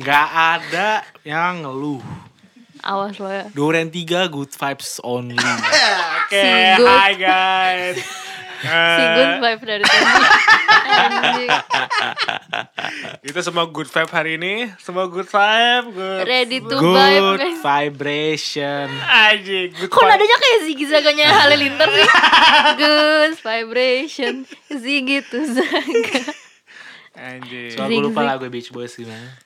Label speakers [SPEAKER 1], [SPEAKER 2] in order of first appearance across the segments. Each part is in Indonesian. [SPEAKER 1] nggak ada yang ngeluh.
[SPEAKER 2] Awas lo ya.
[SPEAKER 1] Duren 3 good vibes only.
[SPEAKER 3] Oke,
[SPEAKER 2] Si Gut.
[SPEAKER 3] hi guys. Eh.
[SPEAKER 2] Si good vibe dari tadi. Anjing.
[SPEAKER 3] Itu semua good vibe hari ini, semua good vibe, good.
[SPEAKER 2] Ready to vibe
[SPEAKER 1] Good
[SPEAKER 2] guys.
[SPEAKER 1] vibration.
[SPEAKER 3] Anjing, good
[SPEAKER 2] Kok
[SPEAKER 3] vibe.
[SPEAKER 2] nadanya kayak zigzaganya Halilintar sih? Good vibration Ziggy tuh zaga
[SPEAKER 3] Anjing.
[SPEAKER 1] Soalnya gue lupa
[SPEAKER 2] Zigzag.
[SPEAKER 1] lagu Beach Boys gimana.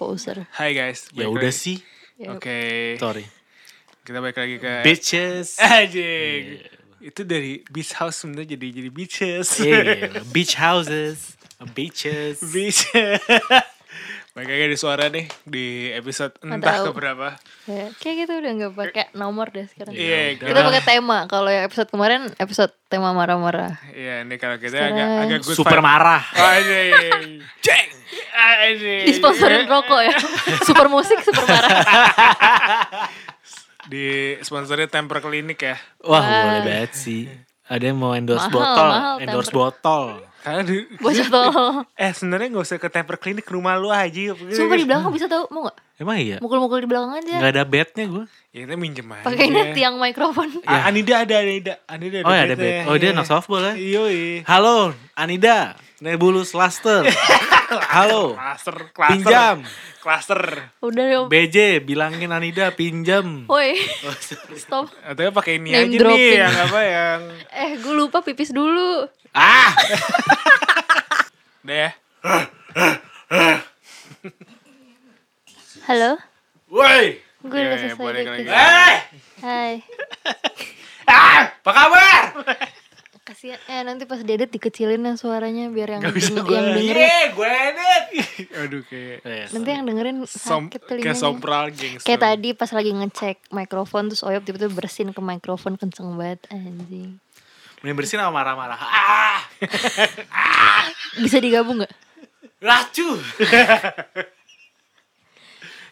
[SPEAKER 2] Poser
[SPEAKER 3] Hi guys.
[SPEAKER 1] Ya
[SPEAKER 3] balik
[SPEAKER 1] udah
[SPEAKER 3] lagi.
[SPEAKER 1] sih.
[SPEAKER 3] Oke,
[SPEAKER 2] Ya,
[SPEAKER 1] Sorry. Eh.
[SPEAKER 3] kita balik lagi ke
[SPEAKER 1] Bitches. Iya.
[SPEAKER 3] Anjing. Itu dari beach house sebenarnya jadi jadi beaches.
[SPEAKER 1] Yeah, Iya, beach houses, beaches.
[SPEAKER 3] beach. Balik lagi di suara nih di episode
[SPEAKER 2] Nggak
[SPEAKER 3] entah
[SPEAKER 2] tahu.
[SPEAKER 3] keberapa.
[SPEAKER 2] ya, Kayak gitu udah gak pakai nomor deh sekarang
[SPEAKER 3] Iya,
[SPEAKER 1] Ya udah.
[SPEAKER 2] Kita pakai tema Kalau yang episode kemarin Episode tema marah-marah
[SPEAKER 3] Iya, ini kalau kita
[SPEAKER 2] Sekarang-
[SPEAKER 3] agak agak good
[SPEAKER 1] Super
[SPEAKER 3] vibe. Oh,
[SPEAKER 1] marah.
[SPEAKER 3] Anjing. Ceng. Anjing.
[SPEAKER 2] Disponsorin rokok ya Super musik super marah
[SPEAKER 3] Di sponsornya Temper Clinic ya.
[SPEAKER 1] Wah,
[SPEAKER 2] Wah.
[SPEAKER 1] boleh banget sih. Ada yang mau endorse
[SPEAKER 2] Mahal,
[SPEAKER 1] botol,
[SPEAKER 2] mahal,
[SPEAKER 1] endorse
[SPEAKER 2] temper.
[SPEAKER 1] botol.
[SPEAKER 3] Karena di-
[SPEAKER 2] Bocah tolol
[SPEAKER 3] eh sebenarnya gak usah ke Temper Clinic rumah lu aja.
[SPEAKER 2] Sumpah di belakang bisa tau Mau gak?
[SPEAKER 1] Emang iya?
[SPEAKER 2] Mukul-mukul di belakang aja
[SPEAKER 1] Nggak ada bednya gue.
[SPEAKER 3] Ya kita minjem aja.
[SPEAKER 2] Pakainya tiang mikrofon
[SPEAKER 3] Ah, Anida ada, Anida. Anida
[SPEAKER 1] Ya. Oh, ya ada
[SPEAKER 3] bednya.
[SPEAKER 1] bed. Oh, dia
[SPEAKER 3] Iya.
[SPEAKER 1] anak softball ya.
[SPEAKER 3] Yoi.
[SPEAKER 1] Halo, Anida, Nebulus Laster. Halo,
[SPEAKER 3] Klaster, klaster.
[SPEAKER 1] Pinjam.
[SPEAKER 3] Klaster.
[SPEAKER 2] Udah dong
[SPEAKER 1] BJ, bilangin Anida pinjam.
[SPEAKER 2] Woi
[SPEAKER 3] Oh,
[SPEAKER 2] Stop
[SPEAKER 3] Atau pakai ini
[SPEAKER 2] Name
[SPEAKER 3] aja nih
[SPEAKER 2] dropping.
[SPEAKER 3] yang apa yang
[SPEAKER 2] Eh gue lupa pipis dulu
[SPEAKER 1] Ah,
[SPEAKER 3] deh. ya.
[SPEAKER 2] Halo
[SPEAKER 1] woi.
[SPEAKER 2] Gue udah
[SPEAKER 3] Iya,
[SPEAKER 2] selesai
[SPEAKER 3] boleh
[SPEAKER 2] dikit.
[SPEAKER 3] lagi.
[SPEAKER 1] Eh,
[SPEAKER 2] Hai
[SPEAKER 1] ah, apa kabar?
[SPEAKER 2] Kasian eh nanti pas diedit dikecilin yang suaranya biar yang
[SPEAKER 3] Nggak bisa
[SPEAKER 2] deng-
[SPEAKER 3] gua.
[SPEAKER 2] yang dengerin
[SPEAKER 1] Iya, gue edit.
[SPEAKER 3] Aduh kayak
[SPEAKER 1] Iya.
[SPEAKER 2] nanti yang dengerin
[SPEAKER 3] som
[SPEAKER 2] sakit
[SPEAKER 3] kayak
[SPEAKER 2] telinganya.
[SPEAKER 3] sompral gangster.
[SPEAKER 2] Kayak tadi pas lagi ngecek mikrofon terus Oyop tiba-tiba bersin ke mikrofon kenceng banget anjing.
[SPEAKER 1] Mending bersihin sama marah-marah. Ah,
[SPEAKER 2] Bisa digabung nggak?
[SPEAKER 1] racu.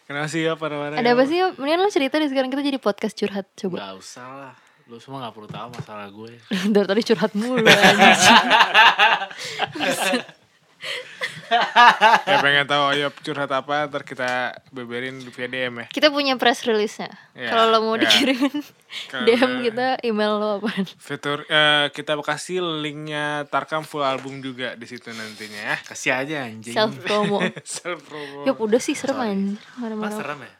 [SPEAKER 3] Kenapa sih ya para-para?
[SPEAKER 2] Ada apa sih? Yop? Mendingan lo cerita deh sekarang kita jadi podcast curhat coba.
[SPEAKER 1] Gak usah lah. Lu semua gak perlu tahu masalah gue.
[SPEAKER 2] Dari tadi curhat mulu anjing.
[SPEAKER 3] Ya pengen tahu ayo curhat apa ntar kita beberin di via DM ya.
[SPEAKER 2] Kita punya press release-nya.
[SPEAKER 3] Ya,
[SPEAKER 2] Kalau lo mau
[SPEAKER 3] ya.
[SPEAKER 2] dikirimin
[SPEAKER 3] Kalau-
[SPEAKER 2] DM kita, email lo apaan?
[SPEAKER 3] Fitur eh, kita kasih linknya Tarkam full album juga di situ nantinya ya.
[SPEAKER 1] Kasih aja anjing.
[SPEAKER 2] Self promo.
[SPEAKER 3] Self promo.
[SPEAKER 2] Yop udah sih serem anjir.
[SPEAKER 1] Mas
[SPEAKER 2] Mana-mana.
[SPEAKER 1] serem ya?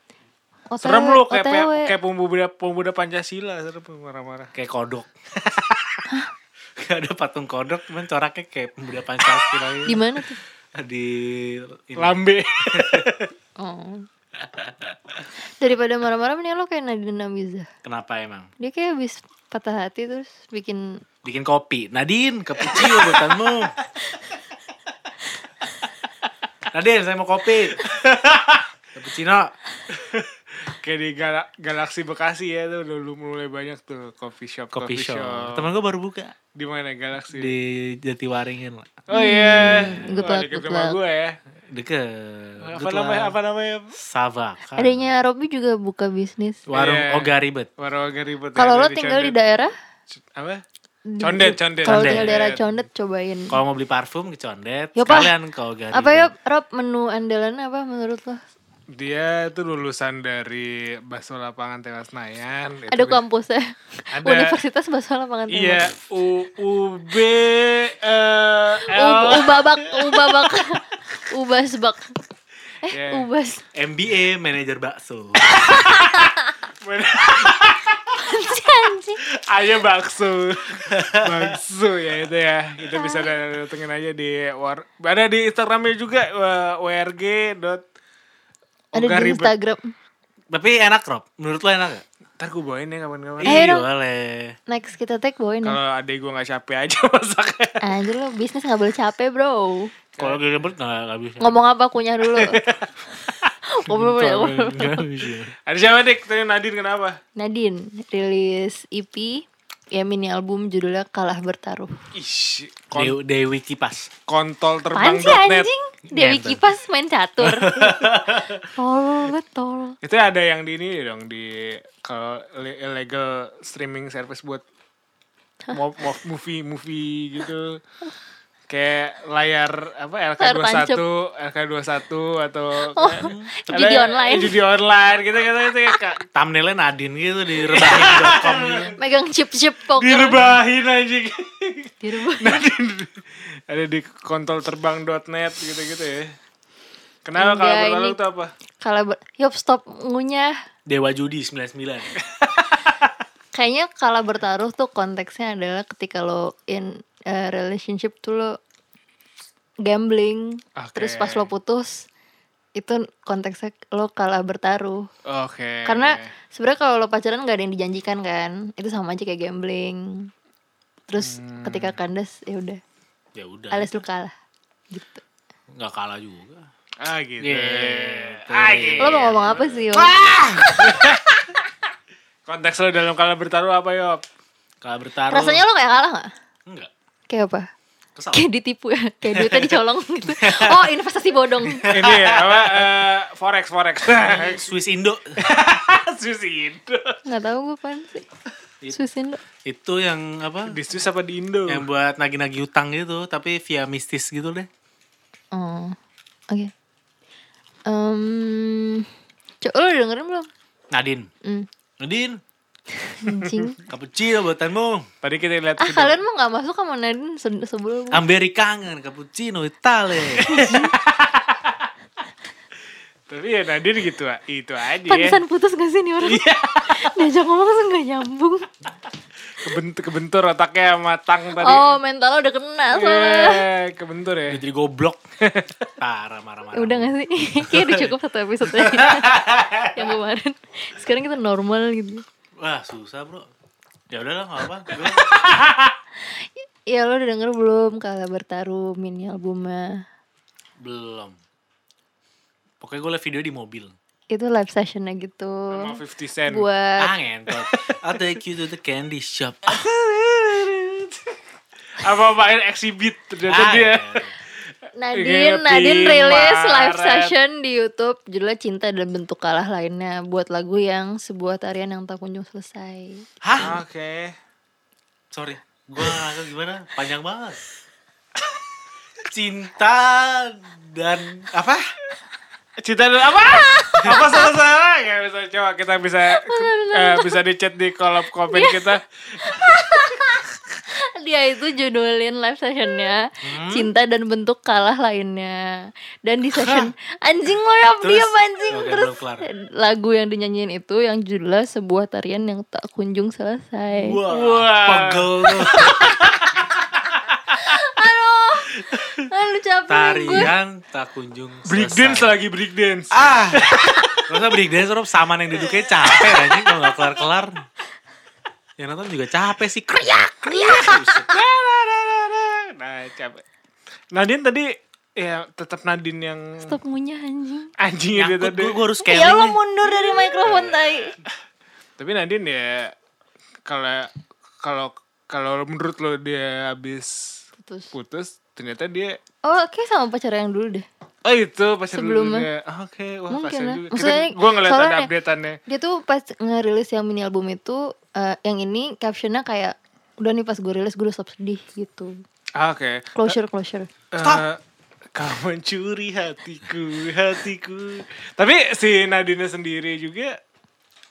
[SPEAKER 2] OTW,
[SPEAKER 3] Serem lu kayak
[SPEAKER 2] OTW.
[SPEAKER 3] kayak pemuda pemuda Pancasila serem marah-marah.
[SPEAKER 1] Kayak kodok. Gak ada patung kodok, cuman coraknya kayak pemuda Pancasila gitu.
[SPEAKER 2] Di mana tuh?
[SPEAKER 1] Di... ini.
[SPEAKER 3] Lambe.
[SPEAKER 2] Oh. Daripada marah-marah mendingan lo kayak Nadine Amiza.
[SPEAKER 1] Kenapa emang?
[SPEAKER 2] Dia kayak habis patah hati terus bikin
[SPEAKER 1] Bikin kopi. Nadine, kecil buatanmu. Nadine, saya mau kopi. Cappuccino.
[SPEAKER 3] kayak di Gala- Galaksi Bekasi ya tuh udah lu- mulai banyak tuh coffee shop
[SPEAKER 1] Kopi shop. Temen gue baru buka.
[SPEAKER 3] di mana Galaksi
[SPEAKER 1] Di Jatiwaringin lah.
[SPEAKER 3] oh iya
[SPEAKER 2] good
[SPEAKER 3] Wah,
[SPEAKER 2] luck,
[SPEAKER 3] deket
[SPEAKER 2] good
[SPEAKER 3] rumah
[SPEAKER 2] luck.
[SPEAKER 3] gue ya
[SPEAKER 1] Deket.
[SPEAKER 3] apa
[SPEAKER 1] Deket
[SPEAKER 3] namanya
[SPEAKER 1] lah.
[SPEAKER 3] apa namanya
[SPEAKER 1] Savaka.
[SPEAKER 2] adanya Robby juga buka bisnis.
[SPEAKER 1] Warung
[SPEAKER 3] Iya.
[SPEAKER 1] Oga ribet.
[SPEAKER 3] warung ribut ya,
[SPEAKER 2] Kalau lo
[SPEAKER 3] dari
[SPEAKER 2] tinggal di
[SPEAKER 3] Condet.
[SPEAKER 2] daerah
[SPEAKER 3] C- apa
[SPEAKER 2] di-
[SPEAKER 3] Condet, Condet.
[SPEAKER 2] Kalau
[SPEAKER 1] Condet.
[SPEAKER 2] tinggal daerah Condet cobain.
[SPEAKER 1] Kalau mau beli parfum ke Condet,
[SPEAKER 2] Ya, Pak.
[SPEAKER 1] sekalian ke Oga
[SPEAKER 2] Apa
[SPEAKER 1] ribet.
[SPEAKER 2] ya Rob menu andalan apa menurut lo?
[SPEAKER 3] dia tuh lulusan dari Baso Lapangan Tewas Senayan itu
[SPEAKER 2] Ada
[SPEAKER 3] dia-
[SPEAKER 2] kampusnya.
[SPEAKER 3] Ada.
[SPEAKER 2] Universitas Bahasa Lapangan Timur.
[SPEAKER 3] iya U U B eh,
[SPEAKER 2] U-
[SPEAKER 3] L
[SPEAKER 2] Ubabak, Ubabak. Ubasbak. Eh,
[SPEAKER 3] Iya.
[SPEAKER 2] Ubas.
[SPEAKER 1] MBA manajer bakso.
[SPEAKER 2] Anjing.
[SPEAKER 3] Ayo bakso Bakso ya itu ya Itu bisa datengin aja di war Ada di Instagramnya juga wa- WRG dot
[SPEAKER 2] Ada
[SPEAKER 3] Oga
[SPEAKER 2] di
[SPEAKER 3] ribet.
[SPEAKER 2] Instagram.
[SPEAKER 1] Tapi enak Rob, menurut lo enak gak?
[SPEAKER 3] Ntar gue bawain ya kapan-kapan
[SPEAKER 2] Ayo
[SPEAKER 1] Iya
[SPEAKER 2] dong.
[SPEAKER 1] boleh.
[SPEAKER 2] Next kita tag bawain ya.
[SPEAKER 3] Kalau adek gue gak capek aja masaknya
[SPEAKER 2] Anjir lo bisnis gak boleh capek bro
[SPEAKER 1] Kalau gue ribet gak, gak bisa.
[SPEAKER 2] Ngomong apa kunyah dulu Ngobrol ya ngobrol.
[SPEAKER 1] Gak bisa.
[SPEAKER 3] Ada siapa Dik? Tadi Nadine kenapa?
[SPEAKER 2] Nadine rilis EP Ya mini album judulnya Kalah Bertaruh
[SPEAKER 3] Ish kon-
[SPEAKER 1] Dewi, Dewi Kipas.
[SPEAKER 3] Kontol
[SPEAKER 2] Apaan sih
[SPEAKER 3] terbang.net
[SPEAKER 2] anjing Dewi
[SPEAKER 1] Ngentot.
[SPEAKER 2] Kipas main catur Tol betul
[SPEAKER 3] Itu ada yang di ini dong Di kalau li- illegal streaming service buat mo- mo- movie movie gitu kayak layar apa
[SPEAKER 2] Layar
[SPEAKER 3] LK21, LK21 atau
[SPEAKER 2] Oh,
[SPEAKER 3] kayak-
[SPEAKER 2] judi
[SPEAKER 3] ada-
[SPEAKER 2] online.
[SPEAKER 3] Judi online gitu gitu gitu kayak
[SPEAKER 1] Thumbnailnya Nadine gitu di rebahin.com gitu.
[SPEAKER 2] Megang chip-chip poker.
[SPEAKER 3] direbahin anjing.
[SPEAKER 2] Direbah.
[SPEAKER 3] ada di kontol terbang.net gitu-gitu ya. Kenapa kalau
[SPEAKER 2] Enggak,
[SPEAKER 3] berlalu
[SPEAKER 2] ini-
[SPEAKER 3] tuh apa?
[SPEAKER 2] Kalau ber- yop stop ngunyah.
[SPEAKER 1] Dewa Judi 99.
[SPEAKER 2] Kayaknya kalau bertaruh tuh konteksnya adalah ketika lo in eh, relationship tuh lo gambling.
[SPEAKER 3] Oke.
[SPEAKER 2] Terus pas lo putus itu konteksnya lo kalah bertaruh.
[SPEAKER 3] Oke.
[SPEAKER 2] Karena sebenarnya kalau lo pacaran nggak ada yang dijanjikan kan, itu sama aja kayak gambling. Terus
[SPEAKER 3] Hmm.
[SPEAKER 2] ketika kandas ya udah,
[SPEAKER 1] Ya udah.
[SPEAKER 2] alias lo kalah. Gitu.
[SPEAKER 1] Nggak kalah juga.
[SPEAKER 3] ah gitu.
[SPEAKER 1] Gitu.
[SPEAKER 3] Ah, gitu.
[SPEAKER 2] Lo mau ngomong apa sih? Yo?
[SPEAKER 3] Konteks lo dalam kalau bertaruh apa, Yop?
[SPEAKER 1] Kalah bertaruh.
[SPEAKER 2] Rasanya lo kayak kalah nggak?
[SPEAKER 1] enggak.
[SPEAKER 2] Kayak apa?
[SPEAKER 1] Kesal.
[SPEAKER 2] Kayak ditipu ya, kayak duitnya dicolong gitu. Oh investasi bodong.
[SPEAKER 3] Ini ya, apa eh, forex forex.
[SPEAKER 1] Swiss Indo.
[SPEAKER 3] Susi Indo.
[SPEAKER 2] Nggak tahu gue pan sih. Susin lo.
[SPEAKER 1] Itu yang apa?
[SPEAKER 3] Di Swiss apa di Indo?
[SPEAKER 1] Yang buat nagih-nagih utang gitu, tapi via mistis gitu deh.
[SPEAKER 2] Oh, oke. Em, Cok, lo udah dengerin belum?
[SPEAKER 1] Nadine.
[SPEAKER 2] Hmm,
[SPEAKER 1] Nadine,
[SPEAKER 2] anjing.
[SPEAKER 1] cappuccino buatanmu.
[SPEAKER 3] Tadi kita lihat
[SPEAKER 2] Ah
[SPEAKER 3] video.
[SPEAKER 2] kalian mau nggak masuk sama Nadine se- sebelum?
[SPEAKER 1] Amerikangan, cappuccino Itali.
[SPEAKER 3] Tapi ya Nadine gitu ah, itu aja. Ya.
[SPEAKER 2] Pantesan putus gak sih nih orang? Diajak ngomong langsung gak nyambung.
[SPEAKER 3] Kebentur, kebentur otaknya sama tang tadi.
[SPEAKER 2] Oh, mental lo udah kena soalnya.
[SPEAKER 3] Iya, kebentur ya.
[SPEAKER 1] Jadi goblok. Parah marah-marah.
[SPEAKER 2] Udah gak sih? Kayaknya udah cukup satu episode aja. Yang kemarin. Sekarang kita normal gitu.
[SPEAKER 1] Wah, susah, Bro. Ya udahlah, enggak apa-apa. Gua-
[SPEAKER 2] Ya lo udah denger belum kalau bertaruh mini albumnya?
[SPEAKER 1] Belum. Pokoknya gue liat video di mobil.
[SPEAKER 2] Itu live sessionnya gitu.
[SPEAKER 3] Sama 50 cent.
[SPEAKER 2] Buat
[SPEAKER 1] Ah, ngentot. I'll take you to the candy shop. Ah,
[SPEAKER 3] apa apaan exhibit ternyata
[SPEAKER 1] Ah,
[SPEAKER 3] dia.
[SPEAKER 1] ngentot.
[SPEAKER 2] Nadine,
[SPEAKER 3] Happy
[SPEAKER 2] Nadine rilis live
[SPEAKER 3] Maret.
[SPEAKER 2] session di YouTube judulnya Cinta dan Bentuk Kalah lainnya buat lagu yang sebuah tarian yang tak kunjung selesai.
[SPEAKER 1] Hah?
[SPEAKER 3] Oke.
[SPEAKER 1] Sorry. Gue gimana? Panjang banget. Cinta dan apa?
[SPEAKER 3] Cita dan apa? apa salah-salah? Ya bisa coba kita bisa eh, bisa dicat di kolom komen
[SPEAKER 2] Iya.
[SPEAKER 3] kita.
[SPEAKER 2] Dia itu judulin live sessionnya
[SPEAKER 1] Hmm?
[SPEAKER 2] Cinta dan Bentuk Kalah lainnya Dan di session Anjing lo ya
[SPEAKER 1] Terus?
[SPEAKER 2] diam anjing
[SPEAKER 1] Oke,
[SPEAKER 2] Terus
[SPEAKER 1] belum kelar.
[SPEAKER 2] lagu yang dinyanyiin itu yang judulnya sebuah tarian yang tak kunjung selesai
[SPEAKER 1] Wah,
[SPEAKER 3] Wah.
[SPEAKER 1] pegel lu.
[SPEAKER 2] Aduh Aduh Ah, capek gue
[SPEAKER 1] Tarian tak kunjung
[SPEAKER 3] Break dance
[SPEAKER 1] selesai.
[SPEAKER 3] lagi break dance.
[SPEAKER 1] Ah. Masa break dance orang saman yang duduknya capek anjing kalau nggak kelar-kelar. Yang nonton juga capek sih. Kriak, kriak.
[SPEAKER 3] Nah, capek. Nadine tadi ya tetap Nadine yang
[SPEAKER 2] Stop ngunyah anjing
[SPEAKER 3] anjing itu
[SPEAKER 1] Nyangkut
[SPEAKER 3] Iya, tadi.
[SPEAKER 1] gue, gue harus
[SPEAKER 2] Ya lo
[SPEAKER 1] scaling.
[SPEAKER 2] mundur dari
[SPEAKER 3] Iya.
[SPEAKER 2] mikrofon tai
[SPEAKER 3] Tapi Nadine ya kalau kalau kalau menurut lo dia habis
[SPEAKER 2] Putus.
[SPEAKER 3] putus ternyata dia
[SPEAKER 2] Oh, kayak sama pacar yang dulu deh.
[SPEAKER 3] Oh itu pacar
[SPEAKER 2] Sebelumnya.
[SPEAKER 3] dulunya. Ah, Oke, wah
[SPEAKER 2] Mungkin
[SPEAKER 3] kasihan
[SPEAKER 2] lah.
[SPEAKER 3] juga.
[SPEAKER 2] Maksudnya,
[SPEAKER 3] Kita, gue ngeliat ada
[SPEAKER 2] soalnya-
[SPEAKER 3] updateannya.
[SPEAKER 2] Dia tuh pas ngerilis yang mini album itu, eh, yang ini captionnya kayak udah nih pas gue rilis gue udah stop sedih gitu.
[SPEAKER 3] Ah, Oke.
[SPEAKER 2] Closure, closure.
[SPEAKER 3] Eh, kau mencuri hatiku, hatiku. Tapi si Nadine sendiri juga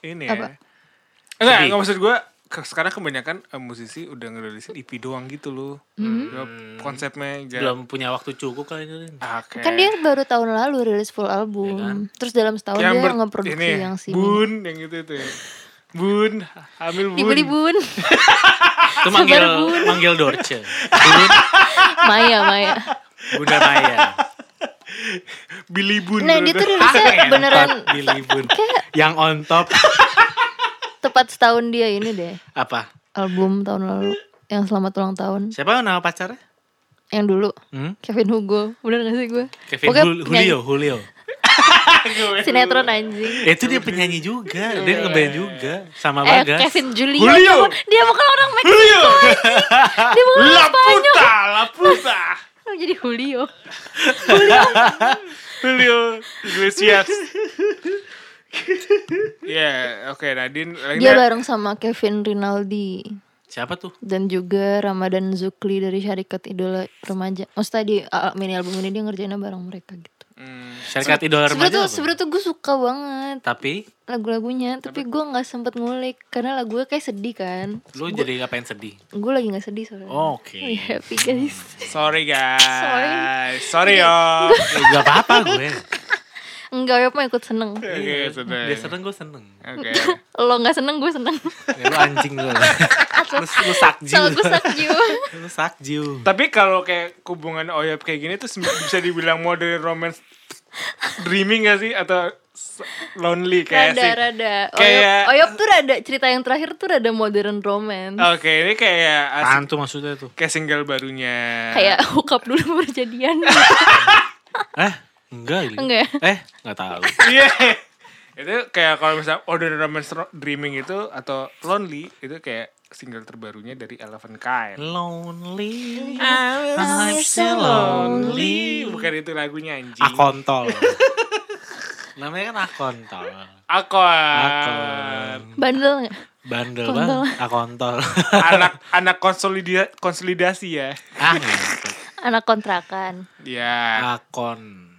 [SPEAKER 3] ini ya.
[SPEAKER 2] Apa?
[SPEAKER 3] Enggak,
[SPEAKER 1] Sedih.
[SPEAKER 3] enggak maksud gue sekarang kebanyakan eh, musisi udah ngerilisin EP doang gitu loh.
[SPEAKER 2] Hmm.
[SPEAKER 3] Udah Konsepnya
[SPEAKER 1] Belum
[SPEAKER 3] jangan-
[SPEAKER 1] punya waktu cukup kali ini.
[SPEAKER 3] Ah, Oke.
[SPEAKER 2] Kan dia baru tahun lalu rilis full album. Terus dalam setahun dia
[SPEAKER 3] yang Iya kan? Ya, ber-
[SPEAKER 2] ngeproduksi
[SPEAKER 3] ini,
[SPEAKER 2] yang sini.
[SPEAKER 3] Bun, yang itu itu ya. Bun, hamil bun.
[SPEAKER 2] Dibeli bun. Ah,
[SPEAKER 1] Itu manggil
[SPEAKER 2] Sabar, Bun.
[SPEAKER 1] manggil Dorce. Bun,
[SPEAKER 2] Maya, Maya.
[SPEAKER 1] Bunda Maya.
[SPEAKER 3] Billy bun.
[SPEAKER 2] Nah, dia tuh rilisnya beneran
[SPEAKER 1] Ngentot, Billy Bun. Yang on top
[SPEAKER 2] tepat setahun dia ini deh.
[SPEAKER 1] apa?
[SPEAKER 2] Album tahun lalu yang selamat ulang tahun.
[SPEAKER 1] Siapa nama pacarnya?
[SPEAKER 2] Yang dulu
[SPEAKER 1] Hmm?
[SPEAKER 2] Kevin Hugo, bener gak sih gue?
[SPEAKER 1] Kevin
[SPEAKER 2] Pokoknya
[SPEAKER 1] Jul- Julio, Julio.
[SPEAKER 2] penyanyi- Sinetron anjing.
[SPEAKER 1] Eh, Itu dia penyanyi juga, dia ngeband juga sama
[SPEAKER 2] Iya, Eh,
[SPEAKER 1] Bagas.
[SPEAKER 2] Kevin Julio. Dia
[SPEAKER 3] Julio.
[SPEAKER 2] bukan- Dia bukan orang Meksiko. Dia bukan orang
[SPEAKER 3] La
[SPEAKER 2] Spanyol.
[SPEAKER 3] puta, la puta.
[SPEAKER 2] Oh, Jadi Julio.
[SPEAKER 3] Julio Iglesias. Ya, oke Nadine.
[SPEAKER 2] Dia
[SPEAKER 3] ya.
[SPEAKER 2] bareng sama Kevin Rinaldi.
[SPEAKER 1] Siapa tuh?
[SPEAKER 2] dan juga Ramadan Zukli dari Syarikat Idola Remaja. Maksudnya di uh, mini album ini dia ngerjainnya bareng mereka gitu.
[SPEAKER 3] Hmm.
[SPEAKER 1] Syarikat idola
[SPEAKER 2] Sebenernya
[SPEAKER 1] remaja.
[SPEAKER 2] tuh,
[SPEAKER 1] apa?
[SPEAKER 2] sebenernya tuh gue suka banget
[SPEAKER 1] Tapi
[SPEAKER 2] lagu-lagunya, tapi gue nggak sempet ngulik karena lagu gue kayak sedih kan.
[SPEAKER 1] lu jadi ngapain sedih?
[SPEAKER 2] Gue lagi nggak sedih soalnya.
[SPEAKER 1] Oh, Oke.
[SPEAKER 2] We happy guys.
[SPEAKER 3] Sorry guys.
[SPEAKER 2] Sorry.
[SPEAKER 3] Sorry yo.
[SPEAKER 1] Eh, Gak apa-apa gue.
[SPEAKER 2] Enggak, ya mah ikut seneng.
[SPEAKER 3] Oke, sudah.
[SPEAKER 1] Iya, Dia seneng gue seneng.
[SPEAKER 3] Oke.
[SPEAKER 2] Lo nggak seneng, gue seneng.
[SPEAKER 1] Ya, lu anjing lu. lu, lu sakjiu.
[SPEAKER 2] Soal gue sakjiu.
[SPEAKER 1] Lu sakjiu.
[SPEAKER 3] Tapi kalau kayak hubungan oyap kayak gini tuh sem- bisa dibilang modern romance dreaming gak sih atau s- lonely kayak
[SPEAKER 2] Rada,
[SPEAKER 3] sih?
[SPEAKER 2] rada.
[SPEAKER 3] Kayak-
[SPEAKER 2] Oyop, oyop tuh rada, cerita yang terakhir tuh rada modern romance.
[SPEAKER 3] Oke, ini kayak asik,
[SPEAKER 1] Apaan tuh maksudnya tuh?
[SPEAKER 3] kayak single barunya.
[SPEAKER 2] Kayak hookup dulu baru jadian.
[SPEAKER 1] Eh, enggak ini.
[SPEAKER 2] Enggak ya?
[SPEAKER 1] Eh, enggak tahu.
[SPEAKER 3] Iya. itu kayak kalau misalnya order romance ro- dreaming itu atau lonely itu kayak single terbarunya dari Eleven Kind.
[SPEAKER 1] Lonely.
[SPEAKER 2] I'm so
[SPEAKER 1] lonely.
[SPEAKER 3] Bukan itu lagunya anjing.
[SPEAKER 1] Akontol. Namanya kan akontol.
[SPEAKER 3] Akon.
[SPEAKER 1] Akon.
[SPEAKER 2] Bandel nggak?
[SPEAKER 1] Bandel banget. Akontol.
[SPEAKER 3] anak anak konsolida konsolidasi ya.
[SPEAKER 1] ah, ngentot.
[SPEAKER 2] Anak kontrakan.
[SPEAKER 1] Ah.
[SPEAKER 3] Ya.
[SPEAKER 1] akon.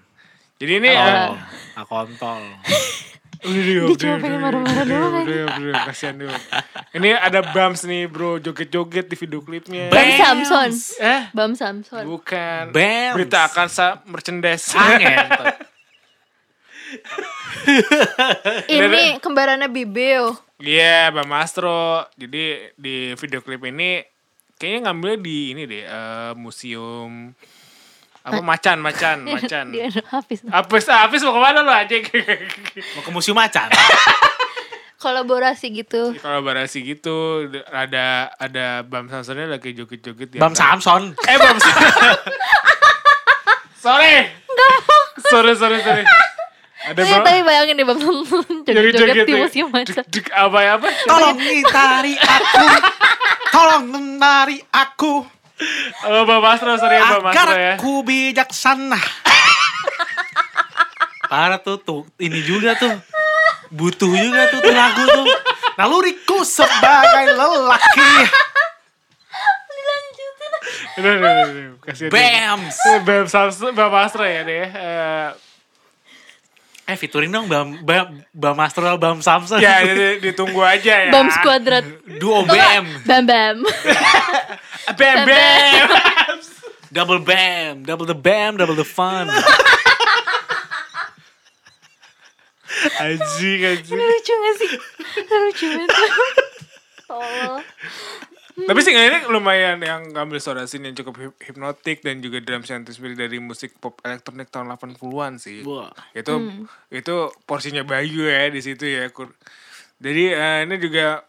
[SPEAKER 3] Jadi ini
[SPEAKER 1] Tol.
[SPEAKER 3] eh,
[SPEAKER 1] Akontol.
[SPEAKER 3] Udah, udah,
[SPEAKER 2] Dia cuma
[SPEAKER 3] udah, udah,
[SPEAKER 2] pengen
[SPEAKER 3] udah,
[SPEAKER 2] marah-marah
[SPEAKER 3] udah,
[SPEAKER 2] doang. eh.
[SPEAKER 3] udah, udah, kasihan dulu. Ini ada Bams nih bro, joget-joget di video klipnya.
[SPEAKER 2] Bam
[SPEAKER 1] Bams.
[SPEAKER 2] Samson.
[SPEAKER 3] Eh,
[SPEAKER 2] Bam Samson.
[SPEAKER 3] bukan.
[SPEAKER 1] Bams.
[SPEAKER 3] Berita akan sa merchandise.
[SPEAKER 1] Ah, ngentot.
[SPEAKER 2] Ini kembarannya Bibeo.
[SPEAKER 3] Iya, Bam Astro. Jadi di video klip ini kayaknya ngambilnya di ini deh, eh, museum apa macan, macan, macan.
[SPEAKER 2] Dia anak Hafiz.
[SPEAKER 3] Apes, apes mau kemana lo aja?
[SPEAKER 1] Mau ke museum macan.
[SPEAKER 2] Kolaborasi gitu.
[SPEAKER 3] Kolaborasi gitu, ada ada Bam Samsonnya lagi joget-joget. di
[SPEAKER 1] Bam
[SPEAKER 3] antara-
[SPEAKER 1] Samson.
[SPEAKER 3] Eh Bam Sorry. Sorry, sorry, sorry. Ada
[SPEAKER 2] Eh,
[SPEAKER 3] Bam. ya?
[SPEAKER 2] tapi bayangin deh Bam Samson joget-joget di museum macan.
[SPEAKER 3] Dek apa ya apa?
[SPEAKER 1] Tolong tarik aku. Tolong menarik aku.
[SPEAKER 3] Oh, Bam Astro, sorry ya Bam Astro ya.
[SPEAKER 1] Agar aku bijaksana. Parah tuh, tuh ini juga tuh. Butuh juga tuh tuh lagu tuh. Naluriku sebagai lelaki.
[SPEAKER 3] Udah, udah, udah, udah. Kasih dia.
[SPEAKER 1] Bams.
[SPEAKER 3] Bam Samsung, Bam Astro ya deh. Eh,
[SPEAKER 1] Eh featuring dong Bam Bam Bam Astro Bam Samson.
[SPEAKER 3] ya di- ditunggu aja ya.
[SPEAKER 2] Bam Squadrat.
[SPEAKER 1] Duo Bam,
[SPEAKER 2] Bam Bam.
[SPEAKER 3] Bam Bam.
[SPEAKER 1] double Bam, double the Bam, double the fun.
[SPEAKER 3] Anjing, anjing.
[SPEAKER 2] Ini lucu gak sih? Ini lucu banget. Tolol.
[SPEAKER 3] Tapi sih ini lumayan yang ngambil suara sini yang cukup hip- hipnotik dan juga drums yang terinspirasi dari musik pop elektronik tahun 80-an sih.
[SPEAKER 1] Wah.
[SPEAKER 3] Itu itu porsinya Bayu ya di situ ya. Kur- Jadi eh, ini juga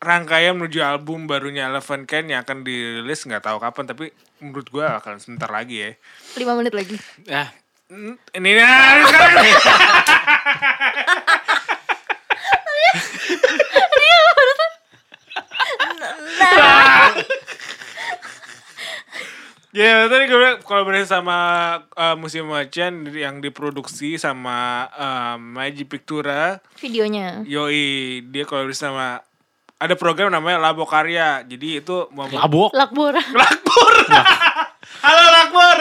[SPEAKER 3] rangkaian menuju album barunya Eleven Ken yang akan dirilis nggak tahu kapan tapi menurut gua akan sebentar lagi ya.
[SPEAKER 2] Lima menit lagi.
[SPEAKER 1] Ah,
[SPEAKER 3] Hmm, Ini nah, sekarang. Ya tadi gue bilang kolaborasi sama eh, Museum Macan yang diproduksi sama eh, Maji Pictura. Iya.
[SPEAKER 2] Videonya.
[SPEAKER 3] Yoi, dia kolaborasi sama ada program namanya Labo Karya. Jadi itu mem-
[SPEAKER 1] labok.
[SPEAKER 2] Lakbora.
[SPEAKER 3] Iya. Lakbor. Halo Lakbor.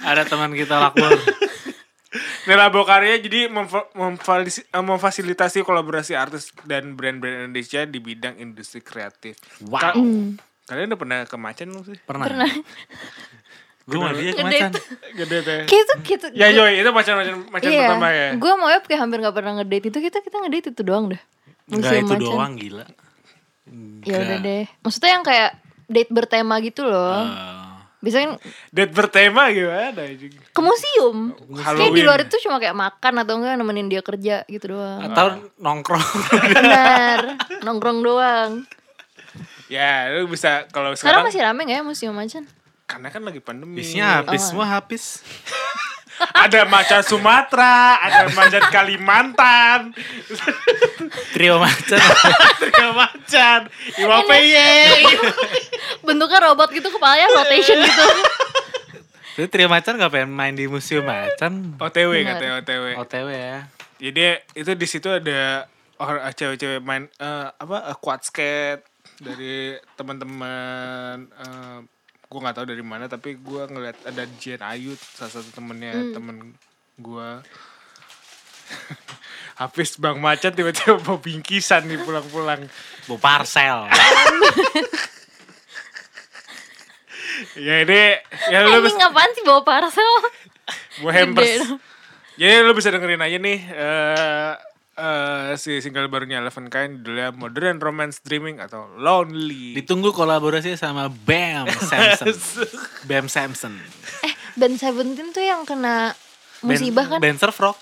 [SPEAKER 1] Ada teman kita lakbor.
[SPEAKER 3] Ini Labo Karya jadi memfa- memfalis- eh, memfasilitasi kolaborasi artis dan brand-brand Indonesia di bidang industri kreatif.
[SPEAKER 1] Wow.
[SPEAKER 3] Ka- Kalian udah pernah ke Macan belum sih?
[SPEAKER 1] Pernah. Gue sama dia
[SPEAKER 2] Gede.
[SPEAKER 1] kemacan.
[SPEAKER 3] Gede teh.
[SPEAKER 2] Kayak itu gitu.
[SPEAKER 3] Ya Yoi, itu Macan-Macan Macan
[SPEAKER 2] Iya.
[SPEAKER 3] pertama ya.
[SPEAKER 2] Gue mau ya kayak hampir gak pernah ngedate itu kita kita ngedate itu doang dah.
[SPEAKER 1] Enggak
[SPEAKER 2] Museum
[SPEAKER 1] itu
[SPEAKER 2] Macan.
[SPEAKER 1] doang gila.
[SPEAKER 2] Ya udah deh. Maksudnya yang kayak date bertema gitu
[SPEAKER 3] Ah.
[SPEAKER 2] loh.
[SPEAKER 1] Eh,
[SPEAKER 2] Biasanya kan
[SPEAKER 3] Date bertema gimana? anjing?
[SPEAKER 2] ke museum. Kayak di
[SPEAKER 3] Halloween.
[SPEAKER 2] luar itu cuma kayak makan atau enggak nemenin dia kerja gitu doang.
[SPEAKER 1] atau nongkrong.
[SPEAKER 2] Benar. Nongkrong doang.
[SPEAKER 3] Ya, lu bisa kalau
[SPEAKER 2] Sekarang
[SPEAKER 3] sekarang,
[SPEAKER 2] masih rame gak ya museum macan?
[SPEAKER 3] karena kan lagi pandemi.
[SPEAKER 1] Isinya
[SPEAKER 2] Oh.
[SPEAKER 1] habis, semua habis.
[SPEAKER 3] ada macan Sumatera, ada macan Kalimantan,
[SPEAKER 1] Trio macan.
[SPEAKER 3] ada macan Iwapeye.
[SPEAKER 2] Bentuknya robot gitu kepalanya rotation gitu.
[SPEAKER 1] Tapi trio macan gak pengen main di museum macan.
[SPEAKER 3] OTW
[SPEAKER 2] Benar.
[SPEAKER 3] katanya OTW.
[SPEAKER 1] OTW ya.
[SPEAKER 3] Jadi itu di situ ada orang cewek-cewek main eh, apa eh, quad skate, dari teman-teman eh gue nggak tahu dari mana tapi gue ngeliat ada Jen Ayu salah satu temennya temen gue habis bang macet tiba-tiba mau bingkisan nih pulang-pulang
[SPEAKER 1] Bu parcel.
[SPEAKER 3] ya ini ya
[SPEAKER 2] Ini
[SPEAKER 3] lu bisa
[SPEAKER 2] ngapain sih bawa parcel?
[SPEAKER 3] gue hampers
[SPEAKER 2] Gede
[SPEAKER 3] jadi lu bisa dengerin aja nih eh eh, si single barunya Eleven Kind judulnya Modern Romance Dreaming atau Lonely
[SPEAKER 1] Ditunggu kolaborasi sama Bam Samson. Bam Samson.
[SPEAKER 2] Eh, band Seventeen tuh yang kena
[SPEAKER 1] Ben-
[SPEAKER 2] musibah kan?
[SPEAKER 1] Ben Surfrock.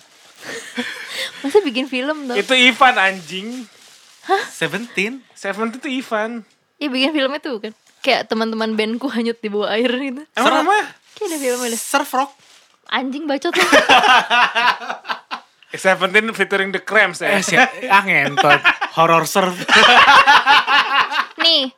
[SPEAKER 2] Masa bikin film dong?
[SPEAKER 3] itu Ivan anjing
[SPEAKER 1] Seventeen.
[SPEAKER 3] Seven itu Ivan
[SPEAKER 2] Iya bikin filmnya tuh kan. Kayak teman-teman bandku hanyut di bawah air gitu.
[SPEAKER 1] Serem.
[SPEAKER 3] Emang apa?
[SPEAKER 2] Kayak ada filmnya deh.
[SPEAKER 1] Surfrock.
[SPEAKER 2] Anjing bacot tuh.
[SPEAKER 3] Eh, Seventeen featuring The Cramps ya.
[SPEAKER 1] Eh, si- ah ngentot. Horror surf.
[SPEAKER 2] Nih.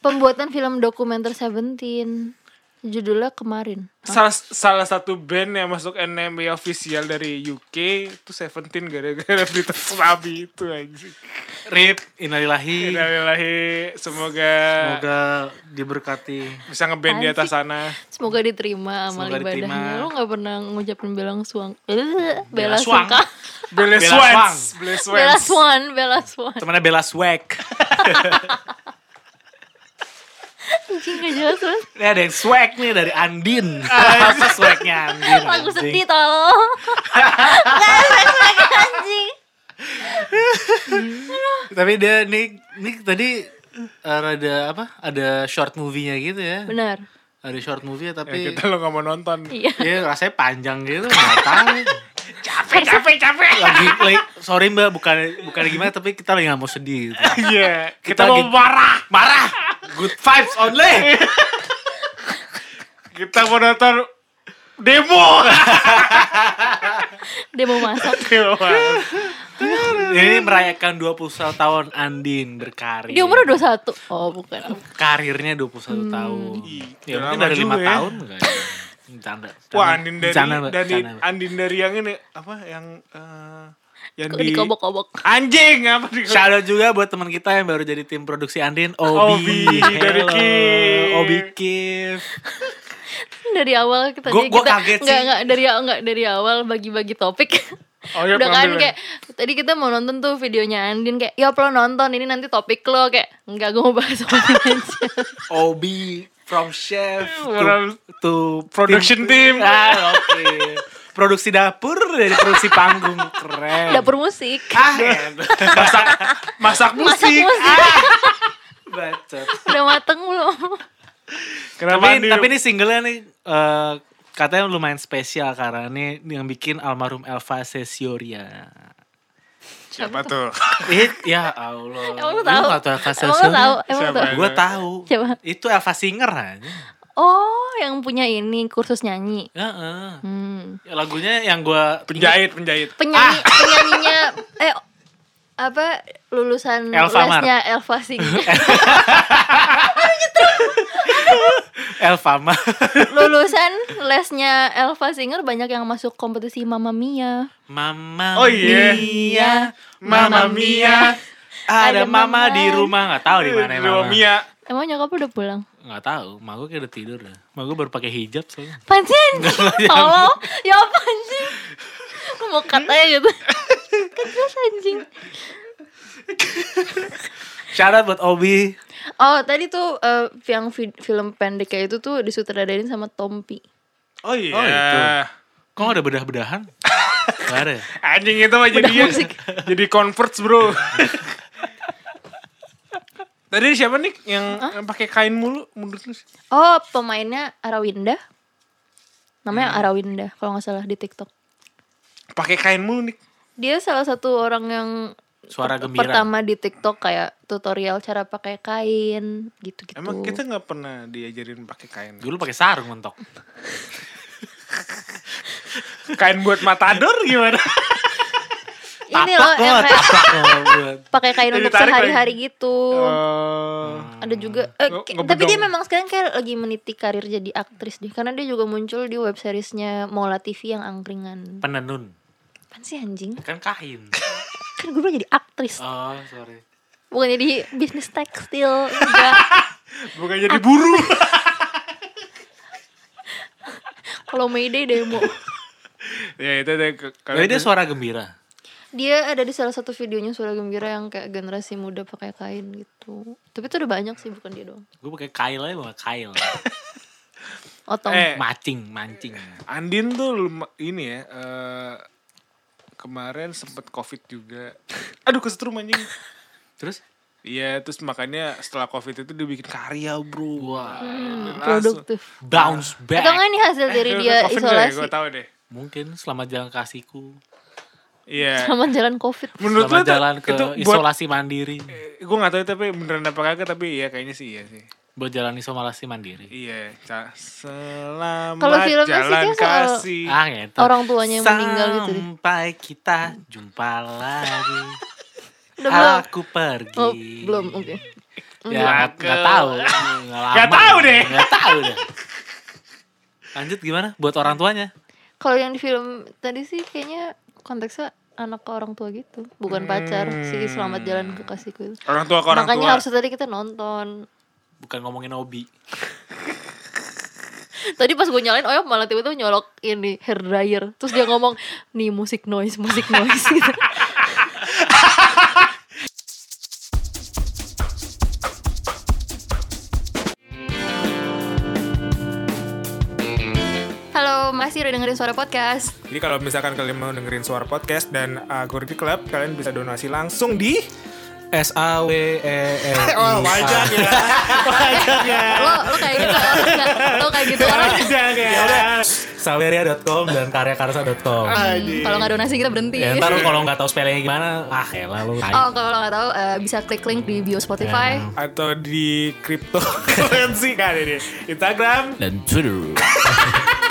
[SPEAKER 2] Pembuatan film dokumenter Seventeen. Judulnya kemarin.
[SPEAKER 3] salah salah satu band yang masuk NME official dari UK itu Seventeen gara-gara berita tsunami itu anjing.
[SPEAKER 1] Rip. Innalillahi.
[SPEAKER 3] Innalillahi semoga,
[SPEAKER 1] Semoga diberkati.
[SPEAKER 3] bisa ngeband di atas sana.
[SPEAKER 2] Semoga diterima amal
[SPEAKER 1] Semoga diterima.
[SPEAKER 2] ibadahnya. Lu gak pernah ngucapin belang suang.
[SPEAKER 1] Bella
[SPEAKER 2] Bella
[SPEAKER 1] Swan.
[SPEAKER 2] suka.
[SPEAKER 3] Bella
[SPEAKER 1] Bella
[SPEAKER 3] Swans,
[SPEAKER 1] Swank.
[SPEAKER 3] Bella
[SPEAKER 2] Bella
[SPEAKER 3] Swans.
[SPEAKER 2] Swan, Bella Swan.
[SPEAKER 1] Temannya Bella Swag.
[SPEAKER 2] Anjing gak jelas banget.
[SPEAKER 1] Ini ada yang swag nih dari Andin. Masa swagnya Andin.
[SPEAKER 2] Lagu
[SPEAKER 1] anjing?
[SPEAKER 2] sedih tolong. Gak ada anjing.
[SPEAKER 1] Tapi dia nih, nih tadi eh, ada apa? Ada short movie-nya gitu ya.
[SPEAKER 2] Benar.
[SPEAKER 1] Ada short movie
[SPEAKER 3] Ya,
[SPEAKER 1] tapi
[SPEAKER 3] kita lo gak mau nonton.
[SPEAKER 2] Iya.
[SPEAKER 1] Iya rasanya panjang gitu nggak tahu.
[SPEAKER 3] Capek, capek, capek.
[SPEAKER 1] Lagi, like, sorry mbak bukan bukan gimana tapi kita lagi nggak mau sedih. Gitu.
[SPEAKER 3] Iya,
[SPEAKER 1] Kita
[SPEAKER 3] kita, mau
[SPEAKER 1] lagi-
[SPEAKER 3] marah.
[SPEAKER 1] Marah. Good vibes only.
[SPEAKER 3] Kita mau nonton demo.
[SPEAKER 2] Dia mau masak.
[SPEAKER 3] Demo.
[SPEAKER 1] Ini merayakan 21 tahun Andin berkarir.
[SPEAKER 2] Dia umur Hmm. 21. Oh, bukan.
[SPEAKER 1] Karirnya 21 tahun.
[SPEAKER 3] Ih,
[SPEAKER 1] Ya
[SPEAKER 3] udah
[SPEAKER 1] mungkin
[SPEAKER 3] lama
[SPEAKER 1] dari 5
[SPEAKER 3] juga ya.
[SPEAKER 1] tahun enggak. Bercanda.
[SPEAKER 3] Wah, Andin dari,
[SPEAKER 1] Bercanda, Mbak.
[SPEAKER 3] dari
[SPEAKER 1] Bercanda, Mbak.
[SPEAKER 3] Andin dari yang ini apa yang eh, yang
[SPEAKER 2] Kok
[SPEAKER 3] di
[SPEAKER 2] dikobok-kobok.
[SPEAKER 3] anjing apa di
[SPEAKER 1] Shout out juga buat teman kita yang baru jadi tim produksi Andin, Obi,
[SPEAKER 3] Obi, dari
[SPEAKER 1] Hello,
[SPEAKER 3] Kif.
[SPEAKER 1] Obi Kif.
[SPEAKER 2] Dari awal kita
[SPEAKER 1] Gua-
[SPEAKER 2] jadi
[SPEAKER 1] gua
[SPEAKER 2] kita
[SPEAKER 1] kaget sih.
[SPEAKER 2] nggak nggak dari nggak dari awal bagi-bagi topik.
[SPEAKER 3] Oh, iya,
[SPEAKER 2] Udah kan
[SPEAKER 3] pengambilan.
[SPEAKER 2] kayak tadi kita mau nonton tuh videonya Andin kayak ya lo nonton ini nanti topik lo kayak enggak gue mau bahas Obi aja.
[SPEAKER 1] Obi from chef
[SPEAKER 3] From-
[SPEAKER 1] to, to
[SPEAKER 3] production
[SPEAKER 1] tim-
[SPEAKER 3] team.
[SPEAKER 1] Ah, oke. Produksi dapur dari produksi panggung keren.
[SPEAKER 2] Dapur musik.
[SPEAKER 1] Ah, enak.
[SPEAKER 3] masak masak
[SPEAKER 2] Masak
[SPEAKER 3] musik.
[SPEAKER 2] musik.
[SPEAKER 1] Bacot.
[SPEAKER 2] Udah mateng belum?
[SPEAKER 3] Kenapa
[SPEAKER 1] Tapi,
[SPEAKER 3] Andin-
[SPEAKER 1] tapi ini singlenya nih eh, katanya lumayan spesial karena ini yang bikin almarhum Elva Sesioria.
[SPEAKER 3] siapa tuh?
[SPEAKER 1] Ih, ya Allah.
[SPEAKER 2] Emang lu
[SPEAKER 1] Lu
[SPEAKER 2] tahu?
[SPEAKER 1] nggak tahu Elva
[SPEAKER 2] Emang lu
[SPEAKER 1] Sesioria?
[SPEAKER 2] tahu? Emang lu
[SPEAKER 3] Siapa? ya?
[SPEAKER 2] tahu?
[SPEAKER 1] Gue tahu.
[SPEAKER 2] Siapa?
[SPEAKER 1] Itu Elva Singer aja.
[SPEAKER 2] Oh, yang punya ini kursus nyanyi.
[SPEAKER 1] Heeh.
[SPEAKER 2] Hmm.
[SPEAKER 1] Lagunya yang gue
[SPEAKER 3] Penjahit, penjahit.
[SPEAKER 2] Penyanyi penyanyinya eh apa lulusan
[SPEAKER 1] Elva Mar.
[SPEAKER 2] lesnya Elva Sing.
[SPEAKER 1] Elva mah.
[SPEAKER 2] lulusan lesnya Elva Singer banyak yang masuk kompetisi Mamma Mia.
[SPEAKER 1] Mama
[SPEAKER 3] Oh, iya.
[SPEAKER 1] Mia,
[SPEAKER 3] Mama
[SPEAKER 1] Mama Mia. Ada
[SPEAKER 2] Ada
[SPEAKER 1] mama
[SPEAKER 2] Mama.
[SPEAKER 1] di rumah nggak tahu di mana
[SPEAKER 3] Eh,
[SPEAKER 1] mama.
[SPEAKER 3] Mia.
[SPEAKER 2] Emang nyokap lu udah pulang?
[SPEAKER 1] Nggak tahu, mak gue kayak udah tidur dah. Mak gue baru pakai hijab soalnya.
[SPEAKER 2] Pansin, tolong, ya apa anjing? Gue mau katanya gitu. Kejelas anjing.
[SPEAKER 1] Shout out buat Obi.
[SPEAKER 2] Oh tadi tuh eh, yang vid- film pendek kayak itu tuh disutradarain sama Tompi.
[SPEAKER 3] Oh iya.
[SPEAKER 1] Oh, itu. Kok nggak ada bedah-bedahan? Gak ada ya?
[SPEAKER 3] Anjing itu mah jadi jadi converts, Bro. Tadi siapa nih yang, yang pakai kain mulu menurut lu?
[SPEAKER 2] Oh pemainnya Arawinda.
[SPEAKER 1] Hmm.
[SPEAKER 2] Namanya Arawinda kalau nggak salah di TikTok.
[SPEAKER 3] Pakai kain mulu nih.
[SPEAKER 2] Dia salah satu orang yang
[SPEAKER 1] Suara
[SPEAKER 2] per-
[SPEAKER 1] gembira.
[SPEAKER 2] pertama di TikTok kayak tutorial cara pakai kain gitu-gitu.
[SPEAKER 3] Emang kita nggak pernah diajarin pakai kain.
[SPEAKER 1] Dulu pakai sarung mentok.
[SPEAKER 3] Kain buat matador gimana?
[SPEAKER 2] ini loh
[SPEAKER 1] Taplak
[SPEAKER 2] yang
[SPEAKER 1] lo,
[SPEAKER 2] kayak
[SPEAKER 1] taplak lo buat.
[SPEAKER 2] pakai kain
[SPEAKER 3] Jadi
[SPEAKER 2] untuk
[SPEAKER 3] tarik
[SPEAKER 2] sehari-hari gitu.
[SPEAKER 3] Oh.
[SPEAKER 2] ada juga eh,
[SPEAKER 3] Nge-
[SPEAKER 2] ke- tapi dia
[SPEAKER 3] ngebedong.
[SPEAKER 2] memang sekarang kayak lagi meniti karir jadi aktris deh karena dia juga muncul di web seriesnya Mola TV yang angkringan
[SPEAKER 1] Penenun.
[SPEAKER 2] apaan sih anjing
[SPEAKER 1] Kan kain.
[SPEAKER 2] kan gue bilang jadi aktris
[SPEAKER 1] Oh, sorry.
[SPEAKER 2] bukan jadi bisnis tekstil enggak
[SPEAKER 3] Bukan jadi buru.
[SPEAKER 2] kalau Mayday demo
[SPEAKER 3] ya itu deh ke- kalau
[SPEAKER 1] Jadi dia suara gembira.
[SPEAKER 2] dia ada di salah satu videonya suara gembira yang kayak generasi muda pakai kain gitu tapi itu udah banyak sih bukan dia doang
[SPEAKER 1] Gue pakai kail aja bawa kail.
[SPEAKER 2] otong
[SPEAKER 3] Eh.
[SPEAKER 1] Macing, mancing.
[SPEAKER 3] Andin tuh lum- ini ya eh, kemarin sempet covid juga. Aduh kesetrum anjing.
[SPEAKER 1] Terus?
[SPEAKER 3] Iya terus makanya setelah covid itu dia bikin karya bro.
[SPEAKER 1] Wah.
[SPEAKER 2] Hmm,
[SPEAKER 3] Langsung. Eh,
[SPEAKER 2] produktif
[SPEAKER 1] Bounce
[SPEAKER 2] atau
[SPEAKER 1] back.
[SPEAKER 2] enggak ini hasil dari dia
[SPEAKER 3] ya?
[SPEAKER 2] isolasi
[SPEAKER 3] Gue tau deh.
[SPEAKER 1] Mungkin selamat jalan kasihku.
[SPEAKER 3] Iya.
[SPEAKER 2] sama jalan covid
[SPEAKER 3] Menurut
[SPEAKER 1] selamat
[SPEAKER 3] lo tuh,
[SPEAKER 1] jalan ke
[SPEAKER 3] itu buat
[SPEAKER 1] isolasi mandiri.
[SPEAKER 3] gue gak tahu tapi beneran apa kagak tapi iya kayaknya sih iya sih.
[SPEAKER 1] Buat jalan isolasi mandiri.
[SPEAKER 3] Iya, ca- selamat
[SPEAKER 2] Kalau filmnya sih
[SPEAKER 3] jalan
[SPEAKER 2] kayak soal-
[SPEAKER 3] kasih.
[SPEAKER 1] Ah, ngetot.
[SPEAKER 2] Orang tuanya yang meninggal gitu deh.
[SPEAKER 1] Sampai kita jumpa lagi.
[SPEAKER 2] Udah belum?
[SPEAKER 1] Aku pergi.
[SPEAKER 2] Oh, belum, oke.
[SPEAKER 1] Ya, nggak- nggak tahu.
[SPEAKER 3] Nggak tahu deh.
[SPEAKER 1] Nggak tahu deh. Lanjut gimana? Buat orang tuanya?
[SPEAKER 2] Kalau yang di film tadi sih kayaknya konteksnya anak ke orang tua gitu, bukan pacar si selamat jalan ke kasihku. itu.
[SPEAKER 3] Orang tua ke Hmm. orang
[SPEAKER 2] Makanya
[SPEAKER 3] tua.
[SPEAKER 2] harus tadi kita nonton.
[SPEAKER 1] Bukan ngomongin hobi.
[SPEAKER 2] Tadi pas gue nyalain Oyo malah tiba-tiba nyolok ini hair dryer. Terus dia ngomong, "Nih musik noise, musik noise." gitu. Halo, masih udah dengerin suara podcast.
[SPEAKER 3] Jadi kalau misalkan kalian mau dengerin suara podcast dan uh, Gorgi Club, kalian bisa donasi langsung di
[SPEAKER 1] S A W E L
[SPEAKER 3] wajar ya. Wajar ya.
[SPEAKER 2] lo lo kayak gitu orang nggak? lo kayak gitu orang
[SPEAKER 3] Wajar ya.
[SPEAKER 1] Saweria.com dan karyakarsa.com.
[SPEAKER 2] Hmm, kalau nggak donasi kita berhenti
[SPEAKER 1] Ya, ntar lu kalau nggak tahu spellingnya gimana, ah elah lu. tai.
[SPEAKER 2] oh kalau nggak tahu eh, bisa klik link di bio Spotify
[SPEAKER 1] Ya.
[SPEAKER 3] Atau di cryptocurrency kan ini. Instagram.
[SPEAKER 1] Dan Twitter.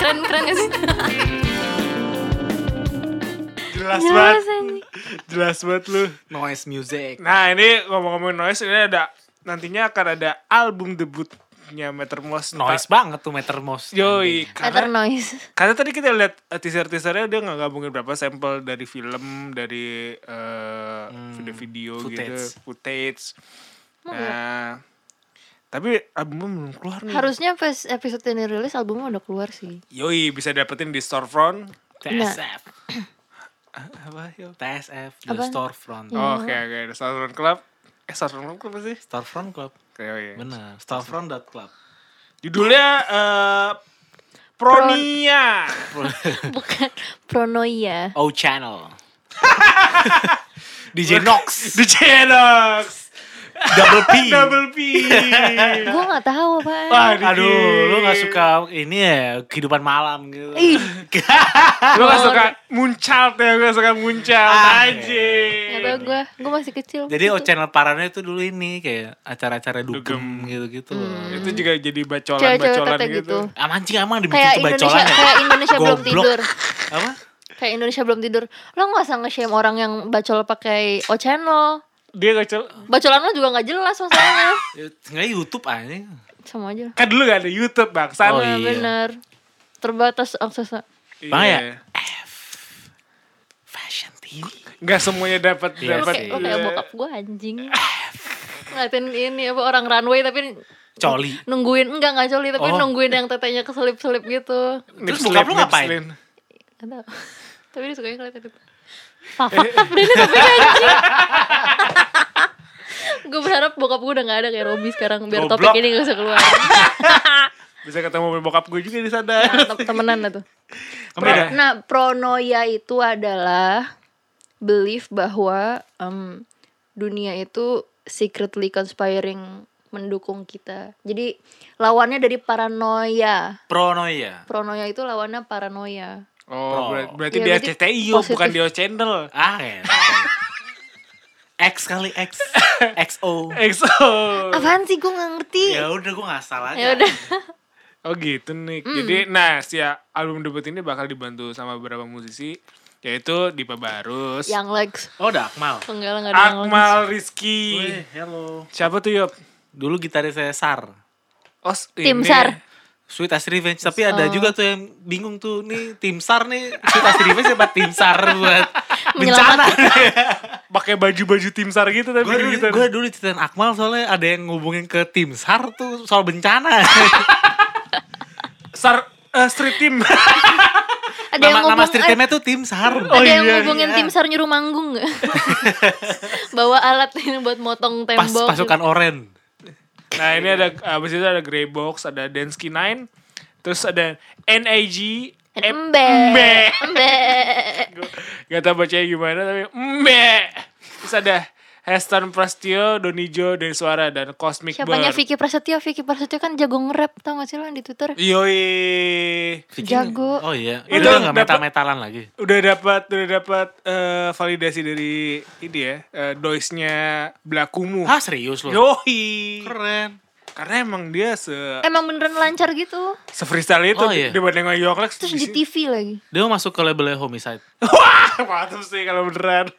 [SPEAKER 2] keren keren gak sih
[SPEAKER 3] Jelas banget.
[SPEAKER 2] jelas ini
[SPEAKER 3] Jelas banget lu.
[SPEAKER 1] Noise music.
[SPEAKER 3] Nah ini ngomong-ngomong noise, ini ada nantinya akan ada album debutnya Metermos.
[SPEAKER 1] Noise banget tuh Metermos.
[SPEAKER 3] Yoi,
[SPEAKER 2] Matter
[SPEAKER 3] karena
[SPEAKER 2] noise
[SPEAKER 3] Karena tadi kita lihat eh, teaser-teasernya dia nggak gabungin berapa sampel dari film, dari eh, video-video gitu,
[SPEAKER 1] Hmm, footage.
[SPEAKER 3] footage. Nah, tapi albumnya belum keluar nih.
[SPEAKER 2] harusnya pas episode ini rilis albumnya udah keluar sih
[SPEAKER 3] Yoi bisa dapetin di storefront.
[SPEAKER 1] TSF.
[SPEAKER 3] Apa yo?
[SPEAKER 1] TSF the
[SPEAKER 2] Apa?
[SPEAKER 1] storefront.
[SPEAKER 3] Oke oke, di storefront club. Eh storefront club apa sih?
[SPEAKER 1] Storefront Club.
[SPEAKER 3] Oke, Yoi.
[SPEAKER 1] Bener. Storefront.club.
[SPEAKER 3] Judulnya eh, Pronia.
[SPEAKER 2] bukan pronoia
[SPEAKER 1] O Channel. DJ Nox.
[SPEAKER 3] The Genox.
[SPEAKER 1] Double P.
[SPEAKER 3] Double P.
[SPEAKER 2] gue nggak tahu apa
[SPEAKER 3] Wah,
[SPEAKER 1] Aduh, lu gak suka ini ya kehidupan malam gitu.
[SPEAKER 2] ih
[SPEAKER 3] Lu gak suka muncal ya, gue suka muncal
[SPEAKER 1] Ah.
[SPEAKER 3] aja.
[SPEAKER 2] nggak tahu gue gue masih kecil Gitu.
[SPEAKER 1] Jadi O
[SPEAKER 2] waktu itu.
[SPEAKER 1] Channel Parano itu dulu ini kayak acara-acara dugem
[SPEAKER 3] Dugem.
[SPEAKER 1] gitu-gitu.
[SPEAKER 2] Hmm.
[SPEAKER 3] Itu juga jadi
[SPEAKER 2] cewek-cewek
[SPEAKER 3] bacolan-bacolan
[SPEAKER 2] tete
[SPEAKER 3] gitu.
[SPEAKER 2] gitu
[SPEAKER 1] Ah mancing emang dibikin tuh
[SPEAKER 2] kayak Indonesia
[SPEAKER 1] bacolan ya.
[SPEAKER 2] kayak Indonesia belum
[SPEAKER 1] Goblok.
[SPEAKER 2] tidur
[SPEAKER 1] Apa?
[SPEAKER 2] kayak Indonesia belum tidur lo nggak usah nge-shame orang yang bacol pakai o channel
[SPEAKER 3] Dia bacol.
[SPEAKER 2] bacolan lo juga nggak jelas masalahnya
[SPEAKER 1] Ya, Nggak YouTube aja.
[SPEAKER 2] sama aja Nah,
[SPEAKER 3] Kan dulu gak ada YouTube bang,
[SPEAKER 1] Oh,
[SPEAKER 3] sana.
[SPEAKER 1] iya.
[SPEAKER 2] bener terbatas aksesnya
[SPEAKER 1] Bang
[SPEAKER 3] Iya.
[SPEAKER 1] ya? Fashion TV.
[SPEAKER 3] Gak semuanya dapat
[SPEAKER 1] Iya
[SPEAKER 2] lo
[SPEAKER 3] dapat.
[SPEAKER 1] sih.
[SPEAKER 2] kayak, lo kayak ya, bokap gue anjing
[SPEAKER 1] Ah.
[SPEAKER 2] ngeliatin ini apa orang runway tapi
[SPEAKER 1] Coli.
[SPEAKER 2] nungguin enggak nggak coli tapi
[SPEAKER 1] Oh.
[SPEAKER 2] nungguin yang tetenya keselip-selip gitu
[SPEAKER 1] Terus bokap lu ngapain?
[SPEAKER 2] Gak tau. tapi dia sukanya ngeliatin itu Fafak deh ini tapi anjing Gue berharap bokap gue udah gak ada kayak Robby sekarang Biar
[SPEAKER 3] Goblok.
[SPEAKER 2] topik ini gak usah keluar
[SPEAKER 3] Bisa ketemu bokap gue juga di sana.
[SPEAKER 2] Nah, tem- Temenan lah tuh
[SPEAKER 3] Apa ya?
[SPEAKER 2] Nah, pronoia itu adalah belief bahwa em, dunia itu secretly conspiring mendukung kita. Jadi lawannya dari paranoia.
[SPEAKER 1] Pronoia.
[SPEAKER 2] Pronoia itu lawannya paranoia.
[SPEAKER 1] Pro.
[SPEAKER 3] Oh, ber- berarti
[SPEAKER 2] Iya,
[SPEAKER 3] dia
[SPEAKER 2] berarti
[SPEAKER 3] CTI yo, bukan
[SPEAKER 2] positif.
[SPEAKER 3] dia channel.
[SPEAKER 1] Ah ya. X kali X. XO.
[SPEAKER 3] EXO.
[SPEAKER 2] Apaan sih gue gak ngerti?
[SPEAKER 1] Ya udah gue nggak salah
[SPEAKER 2] Ya
[SPEAKER 1] aja.
[SPEAKER 2] udah.
[SPEAKER 3] Oh gitu nih.
[SPEAKER 2] Mm.
[SPEAKER 3] Jadi nah si album debut ini bakal dibantu sama beberapa musisi yaitu Dipa Barus,
[SPEAKER 2] Yang Lex
[SPEAKER 1] Oh, udah Akmal.
[SPEAKER 2] penggalang ada yang Lex.
[SPEAKER 3] Akmal Rizky.
[SPEAKER 1] Weh, hello.
[SPEAKER 3] Siapa tuh Yop?
[SPEAKER 1] Dulu gitaris saya Sar.
[SPEAKER 3] Oh, s-
[SPEAKER 2] Tim
[SPEAKER 3] ini.
[SPEAKER 2] Sar.
[SPEAKER 1] Sweet as Revenge tapi ada juga tuh yang bingung tuh nih tim SAR nih Sweet as Revenge apa tim SAR buat bencana.
[SPEAKER 2] menyelamatkan
[SPEAKER 3] pakai baju-baju tim sar gitu tapi
[SPEAKER 1] gue dulu,
[SPEAKER 3] gitu.
[SPEAKER 1] gua dulu ceritain Akmal soalnya ada yang ngubungin ke tim SAR tuh soal bencana.
[SPEAKER 3] Sar eh, street team.
[SPEAKER 2] ada yang
[SPEAKER 1] nama, nama
[SPEAKER 2] ngomong
[SPEAKER 1] street
[SPEAKER 2] eh,
[SPEAKER 1] team-nya tuh tim SAR.
[SPEAKER 3] Oh,
[SPEAKER 2] ada yang
[SPEAKER 3] iya,
[SPEAKER 2] ngubungin
[SPEAKER 1] iya.
[SPEAKER 2] tim sar nyuruh manggung nggak bawa alat ini buat motong
[SPEAKER 1] Pas
[SPEAKER 2] tembok
[SPEAKER 1] pasukan oren.
[SPEAKER 3] nah, ini ada abis itu ada Grey Box, ada Densky 9, terus ada NAG
[SPEAKER 2] embe
[SPEAKER 3] Embe.
[SPEAKER 2] embe
[SPEAKER 3] Gak tau bacanya gimana tapi mbe. Terus ada Heston Prastio, Donijo, Suara dan Cosmic
[SPEAKER 2] siapanya
[SPEAKER 3] Bird.
[SPEAKER 2] Vicky Prasetyo Vicky Prasetyo kan jago nge-rap tau gak sih lo yang di Twitter
[SPEAKER 3] Iya. Yoi.
[SPEAKER 2] Jago.
[SPEAKER 1] Oh iya.
[SPEAKER 3] Itu
[SPEAKER 1] Itu nggak
[SPEAKER 3] dapet-
[SPEAKER 1] meta-metalan lagi.
[SPEAKER 3] Udah dapat udah dapat eh, validasi dari ini ya, eh, doisnya Blakumu.
[SPEAKER 1] Hah Ah, serius lu?
[SPEAKER 3] Yoi.
[SPEAKER 1] Keren.
[SPEAKER 3] Karena emang dia se
[SPEAKER 2] emang beneran lancar gitu
[SPEAKER 3] se freestyle itu
[SPEAKER 1] Oh, iya.
[SPEAKER 3] dibanding sama Yoklex.
[SPEAKER 2] terus di
[SPEAKER 3] di sini-
[SPEAKER 2] TV lagi
[SPEAKER 1] Dia mau masuk ke labelnya homicide.
[SPEAKER 3] Wah, mantap sih kalau beneran.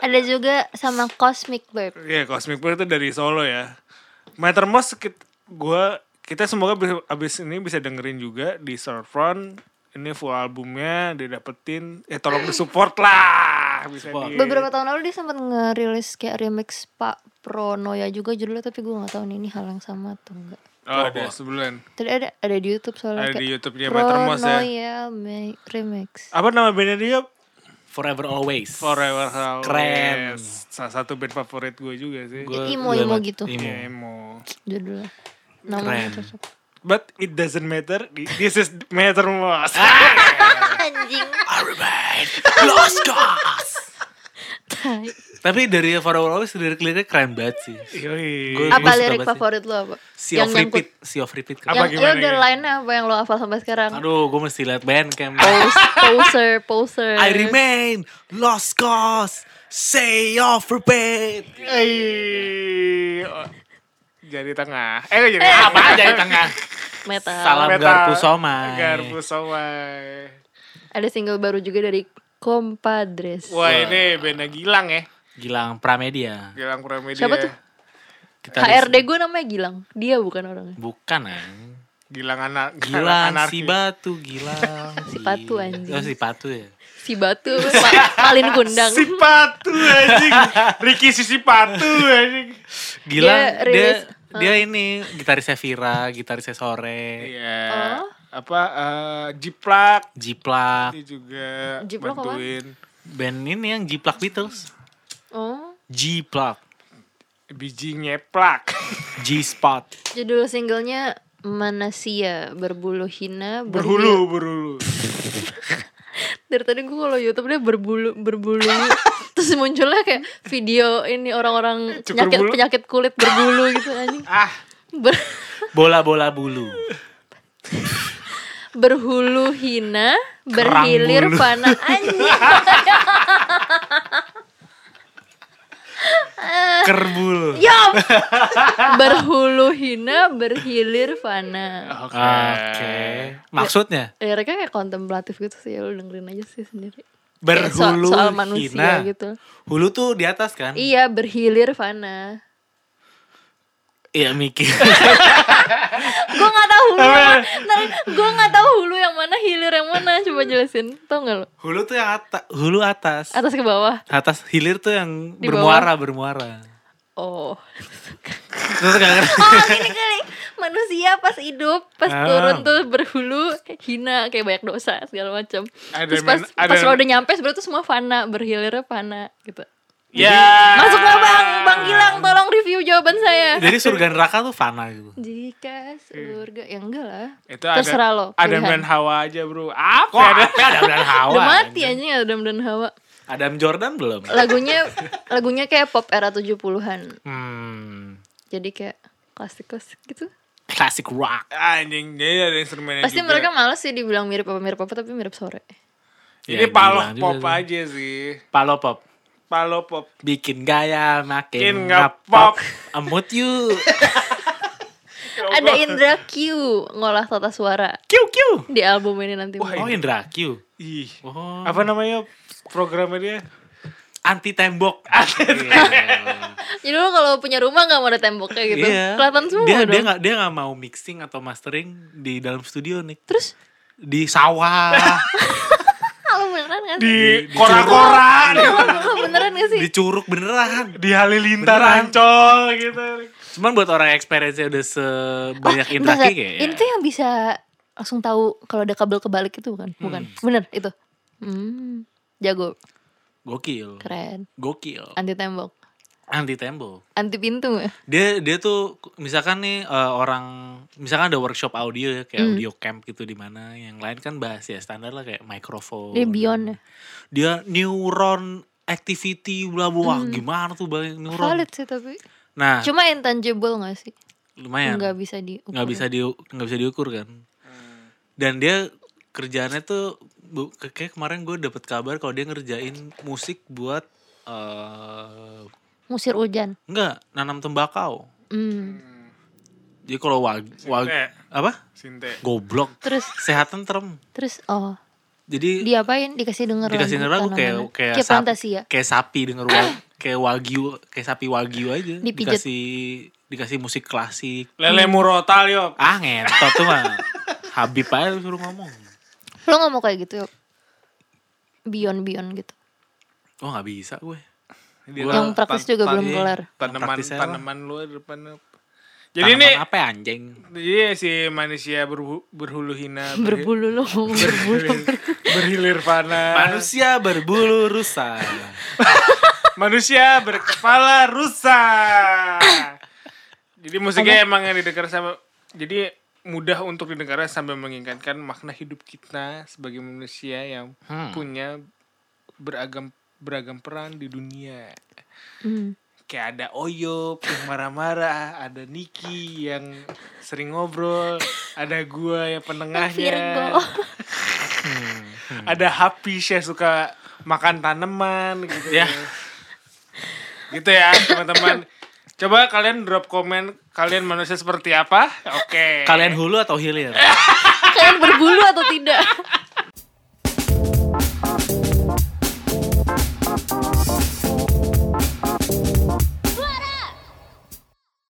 [SPEAKER 2] ada juga sama Cosmic Bird
[SPEAKER 3] Iya, Cosmic Bird itu dari Solo ya. Mattermost kita, gua kita semoga bisa- abis ini bisa dengerin juga di Storefront. Ini full albumnya didapetin. Eh tolong disupport lah. Bisa
[SPEAKER 1] Support.
[SPEAKER 3] di-
[SPEAKER 2] beberapa tahun lalu dia sempat ngerilis kayak remix Pak Pronoya juga judulnya tapi gue nggak tahu nih ini hal yang sama atau enggak
[SPEAKER 3] Oh, ada sebulan.
[SPEAKER 2] tadi ada ada di YouTube soalnya
[SPEAKER 3] Ada di YouTube-nya Mattermost ya.
[SPEAKER 2] Pronoya Me- remix
[SPEAKER 3] Apa nama bandnya dia?
[SPEAKER 1] Forever always.
[SPEAKER 3] Forever House.
[SPEAKER 1] Keren.
[SPEAKER 3] Salah satu band favorit gue juga sih.
[SPEAKER 1] Gua
[SPEAKER 2] Imo,
[SPEAKER 1] juga
[SPEAKER 2] imo
[SPEAKER 1] banget.
[SPEAKER 2] gitu.
[SPEAKER 1] Imo.
[SPEAKER 3] Iya, emo.
[SPEAKER 2] judulnya namanya
[SPEAKER 1] Keren.
[SPEAKER 2] cocok
[SPEAKER 3] But it doesn't matter. This is Mattermost.
[SPEAKER 1] Ah!
[SPEAKER 2] anjing
[SPEAKER 1] Alright. Lost cause.
[SPEAKER 2] tai.
[SPEAKER 1] Tapi dari Forever always lirik liriknya keren banget sih.
[SPEAKER 3] Yoi.
[SPEAKER 1] Gua-
[SPEAKER 2] apa
[SPEAKER 1] suka
[SPEAKER 2] lirik
[SPEAKER 1] banget sih.
[SPEAKER 2] favorit lo apa
[SPEAKER 1] Sea of
[SPEAKER 2] nyangkut-
[SPEAKER 1] repeat. Sea of repeat.
[SPEAKER 3] Apa
[SPEAKER 1] Keren.
[SPEAKER 2] yang
[SPEAKER 3] gimana
[SPEAKER 2] ya udah
[SPEAKER 3] ya?
[SPEAKER 2] lainnya apa yang lo hafal sampai sekarang
[SPEAKER 1] Aduh, gue mesti liat bandcamp.
[SPEAKER 2] Pose- poser poser
[SPEAKER 1] I remain lost cause. Say off repeat.
[SPEAKER 3] Eh, oh, Jari tengah. Eh, kok jadi
[SPEAKER 1] Apa
[SPEAKER 3] apa?
[SPEAKER 1] aja di tengah?
[SPEAKER 3] Ya,
[SPEAKER 2] metal
[SPEAKER 1] Salam
[SPEAKER 3] Metal.
[SPEAKER 1] garpu somai.
[SPEAKER 3] Garpu somai.
[SPEAKER 2] ada single baru juga dari Compadres
[SPEAKER 3] Wah, ini benda Gilang ya.
[SPEAKER 1] Gilang Pramedia.
[SPEAKER 3] Gilang Pramedia.
[SPEAKER 2] Siapa tuh?
[SPEAKER 1] Kita
[SPEAKER 2] HRD gue namanya Gilang dia bukan orangnya
[SPEAKER 1] Bukan anjing.
[SPEAKER 3] Gilang anak.
[SPEAKER 1] Gilang,
[SPEAKER 3] anarki.
[SPEAKER 1] si batu, Gilang.
[SPEAKER 2] Si Patu, anjing.
[SPEAKER 1] Oh, si patu ya.
[SPEAKER 2] si batu ma- malin kundang
[SPEAKER 3] Si patu anjing. Ricky si si patu anjing.
[SPEAKER 1] Gilang, dia, dia,
[SPEAKER 2] rilis- Oh.
[SPEAKER 1] ini gitarisnya Vira, gitarisnya Sore,
[SPEAKER 3] Iya.
[SPEAKER 2] Oh.
[SPEAKER 3] Apa eh, Jiplak
[SPEAKER 1] Jiplak,
[SPEAKER 3] dia juga
[SPEAKER 2] Jiplak apa?
[SPEAKER 3] bantuin.
[SPEAKER 1] band ini yang Jiplak Beatles.
[SPEAKER 2] oh
[SPEAKER 1] Jiplak,
[SPEAKER 3] Biji nyeplak.
[SPEAKER 1] G-Spot.
[SPEAKER 2] judul singlenya Manasia berbulu hina berhil-
[SPEAKER 3] Berhulu, berhulu.
[SPEAKER 2] dari tadi gue kalau YouTube dia berbulu berbulu terus munculnya kayak video ini orang-orang
[SPEAKER 3] Cukur
[SPEAKER 2] penyakit
[SPEAKER 3] bulu.
[SPEAKER 2] penyakit kulit berbulu gitu anjing
[SPEAKER 3] Ah,
[SPEAKER 2] Ber-
[SPEAKER 1] Bola-bola bulu.
[SPEAKER 2] berhulu hina
[SPEAKER 1] Kerang
[SPEAKER 2] berhilir
[SPEAKER 1] bulu.
[SPEAKER 2] panah anjing
[SPEAKER 1] Kerbul.
[SPEAKER 2] Yap. berhulu hina berhilir fana
[SPEAKER 3] oke.
[SPEAKER 1] Oke. Maksudnya?
[SPEAKER 2] liriknya kayak kontemplatif gitu sih ya lu dengerin aja sih sendiri Kayak so-
[SPEAKER 1] Berhulu
[SPEAKER 2] soal manusia
[SPEAKER 1] hina.
[SPEAKER 2] gitu
[SPEAKER 1] Hulu tuh di atas kan?
[SPEAKER 2] iya berhilir fana
[SPEAKER 1] Iya, mikir.
[SPEAKER 2] gue nggak tahu hulu yang mana gue nggak tahu hulu yang mana hilir yang mana coba jelasin tau nggak lo
[SPEAKER 1] hulu tuh yang atas, hulu atas.
[SPEAKER 2] atas ke bawah
[SPEAKER 1] Atas hilir tuh yang
[SPEAKER 2] Di
[SPEAKER 1] bermuara, bermuara.
[SPEAKER 2] oh
[SPEAKER 1] Terus gak ngerti.
[SPEAKER 2] oh gini kali manusia pas hidup pas
[SPEAKER 1] Ah.
[SPEAKER 2] turun tuh berhulu hina kayak banyak dosa segala macam
[SPEAKER 3] Ada
[SPEAKER 2] terus
[SPEAKER 3] yang
[SPEAKER 2] pas
[SPEAKER 3] main- ada
[SPEAKER 2] pas
[SPEAKER 3] yang-
[SPEAKER 2] lo udah nyampe sebenarnya tuh semua fana berhilirnya fana gitu
[SPEAKER 3] Ya.
[SPEAKER 2] masuk nggak bang
[SPEAKER 1] Ah.
[SPEAKER 2] bang Gilang tolong review jawaban saya
[SPEAKER 1] Jadi surga neraka tuh fana gitu.
[SPEAKER 2] jika surga ya enggak lah
[SPEAKER 3] Itu
[SPEAKER 2] terserah
[SPEAKER 3] ada,
[SPEAKER 2] lo
[SPEAKER 3] Ada
[SPEAKER 2] pilihan.
[SPEAKER 3] main hawa aja bro. Apa
[SPEAKER 1] Kok
[SPEAKER 3] ada?
[SPEAKER 1] ada Adam dan Hawa? ya?
[SPEAKER 2] udah mati anjing Adam dan Hawa
[SPEAKER 1] Adam Jordan belum?
[SPEAKER 2] lagunya lagunya kayak pop era 70-an
[SPEAKER 1] Hmm,
[SPEAKER 2] jadi kayak klasik klasik gitu
[SPEAKER 1] classic rock.
[SPEAKER 3] Anjing, jadi ada instrumennya
[SPEAKER 2] pasti
[SPEAKER 1] gitu
[SPEAKER 3] juga.
[SPEAKER 2] mereka males sih dibilang mirip apa mirip apa tapi mirip sore
[SPEAKER 1] Ya,
[SPEAKER 3] Ini
[SPEAKER 1] gila
[SPEAKER 3] paloh
[SPEAKER 1] juga
[SPEAKER 3] pop
[SPEAKER 1] sih.
[SPEAKER 3] aja sih.
[SPEAKER 1] Palo pop.
[SPEAKER 3] Paloh pop.
[SPEAKER 1] Bikin gaya makin
[SPEAKER 3] Bikin ngepop.
[SPEAKER 1] ngepop. Emut you. Ya
[SPEAKER 2] ada Indra Q ngolah tata suara
[SPEAKER 1] Kiu kiu.
[SPEAKER 2] di album ini nanti
[SPEAKER 1] Oh Indra Q.
[SPEAKER 3] Ih.
[SPEAKER 1] Oh.
[SPEAKER 3] Apa namanya programnya dia?
[SPEAKER 1] Anti tembok. Iya.
[SPEAKER 2] jadi lo kalau punya rumah nggak mau ada temboknya gitu kelihatan semua
[SPEAKER 1] Iya. dia,
[SPEAKER 2] dong
[SPEAKER 1] Dia nggak dia nggak mau mixing atau mastering di dalam studio nih.
[SPEAKER 2] terus
[SPEAKER 1] Di sawah.
[SPEAKER 2] lu beneran kan?
[SPEAKER 3] di
[SPEAKER 1] Di-
[SPEAKER 3] kora-kora di,
[SPEAKER 2] Lu beneran gak sih?
[SPEAKER 1] Dicuruk beneran.
[SPEAKER 3] di halilintar
[SPEAKER 1] Beneran.
[SPEAKER 3] ancol gitu
[SPEAKER 1] Cuman buat orang experience udah sebanyak ya.
[SPEAKER 2] Oh, bentar,
[SPEAKER 1] interaksi
[SPEAKER 2] bentar.
[SPEAKER 1] kayak
[SPEAKER 2] Ini tuh yang bisa langsung tahu kalau ada kabel kebalik itu bukan? Bukan. Bener itu. Hmm. Jago,
[SPEAKER 1] gokil.
[SPEAKER 2] keren.
[SPEAKER 1] Gokil.
[SPEAKER 2] Anti tembok,
[SPEAKER 1] Anti tembok.
[SPEAKER 2] anti
[SPEAKER 1] Oh,
[SPEAKER 2] pintu nggak?
[SPEAKER 1] Dia dia tuh misalkan nih eh, orang misalkan ada workshop audio ya kayak audio camp gitu di mana yang lain kan bahas ya standar lah kayak mikrofon.
[SPEAKER 2] Dia beyond ya.
[SPEAKER 1] Dia neuron activity bla bla Wah, gimana tuh bang neuron.
[SPEAKER 2] Valid sih tapi.
[SPEAKER 1] Nah,
[SPEAKER 2] Cuma intangible gak sih?
[SPEAKER 1] lumayan.
[SPEAKER 2] Nggak bisa di.
[SPEAKER 1] nggak bisa di nggak bisa diukur kan dan dia kerjaannya tuh bu, ke- kayak kemarin gue dapet kabar kalau dia ngerjain musik buat eh
[SPEAKER 2] Musir hujan.
[SPEAKER 1] nggak nanam tembakau
[SPEAKER 2] Hmm.
[SPEAKER 1] jadi kalau wag, wag
[SPEAKER 3] Sinte.
[SPEAKER 1] apa
[SPEAKER 3] sinte
[SPEAKER 1] goblok
[SPEAKER 2] Terus
[SPEAKER 1] sehat tentrem
[SPEAKER 2] terus oh
[SPEAKER 1] jadi
[SPEAKER 2] diapain? Dikasih denger
[SPEAKER 1] dikasih nerang
[SPEAKER 2] lagu
[SPEAKER 1] kayak
[SPEAKER 2] tanaman.
[SPEAKER 1] kayak
[SPEAKER 2] kayak
[SPEAKER 1] sap-
[SPEAKER 2] fantasi ya.
[SPEAKER 1] kayak sapi denger wa- kayak wagyu kayak sapi wagyu aja
[SPEAKER 2] Dipijet.
[SPEAKER 1] dikasih dikasih musik klasik
[SPEAKER 3] lele
[SPEAKER 2] Iya.
[SPEAKER 3] murotal yop
[SPEAKER 1] ah ngentot tuh mah Habib aja suruh ngomong
[SPEAKER 2] Lo nggak mau kayak gitu? Beyond beyond gitu.
[SPEAKER 1] oh nggak bisa gue
[SPEAKER 3] Gua
[SPEAKER 2] yang praktis
[SPEAKER 3] tan-
[SPEAKER 2] juga
[SPEAKER 3] tan-
[SPEAKER 2] belum
[SPEAKER 1] iya.
[SPEAKER 2] kelar.
[SPEAKER 3] tanaman
[SPEAKER 1] Praktisnya lah.
[SPEAKER 3] tanaman lu di depan lu. jadi ini
[SPEAKER 1] Tanaman apa ya anjing
[SPEAKER 3] Iya si manusia berhu- berhulu
[SPEAKER 1] Iya.
[SPEAKER 3] hina berhi-
[SPEAKER 2] Berbulu lo, berbulu.
[SPEAKER 3] berhilir, berhilir fana
[SPEAKER 1] Manusia berbulu rusa.
[SPEAKER 3] manusia berkepala rusa jadi musiknya emang yang didengar sama jadi mudah untuk didengar sambil mengingatkan makna hidup kita sebagai manusia yang
[SPEAKER 1] Hmm.
[SPEAKER 3] punya beragam beragam peran di dunia
[SPEAKER 2] Hmm.
[SPEAKER 3] kayak ada Oyop yang marah-marah, ada Niki yang sering ngobrol, ada gua yang penengahnya,
[SPEAKER 2] Virgo.
[SPEAKER 3] ada Hapish yang suka makan tanaman gitu ya. Gitu ya teman-teman. Coba kalian drop komen kalian manusia seperti apa? Oke.
[SPEAKER 1] Kalian hulu atau hilir?
[SPEAKER 2] Kalian berbulu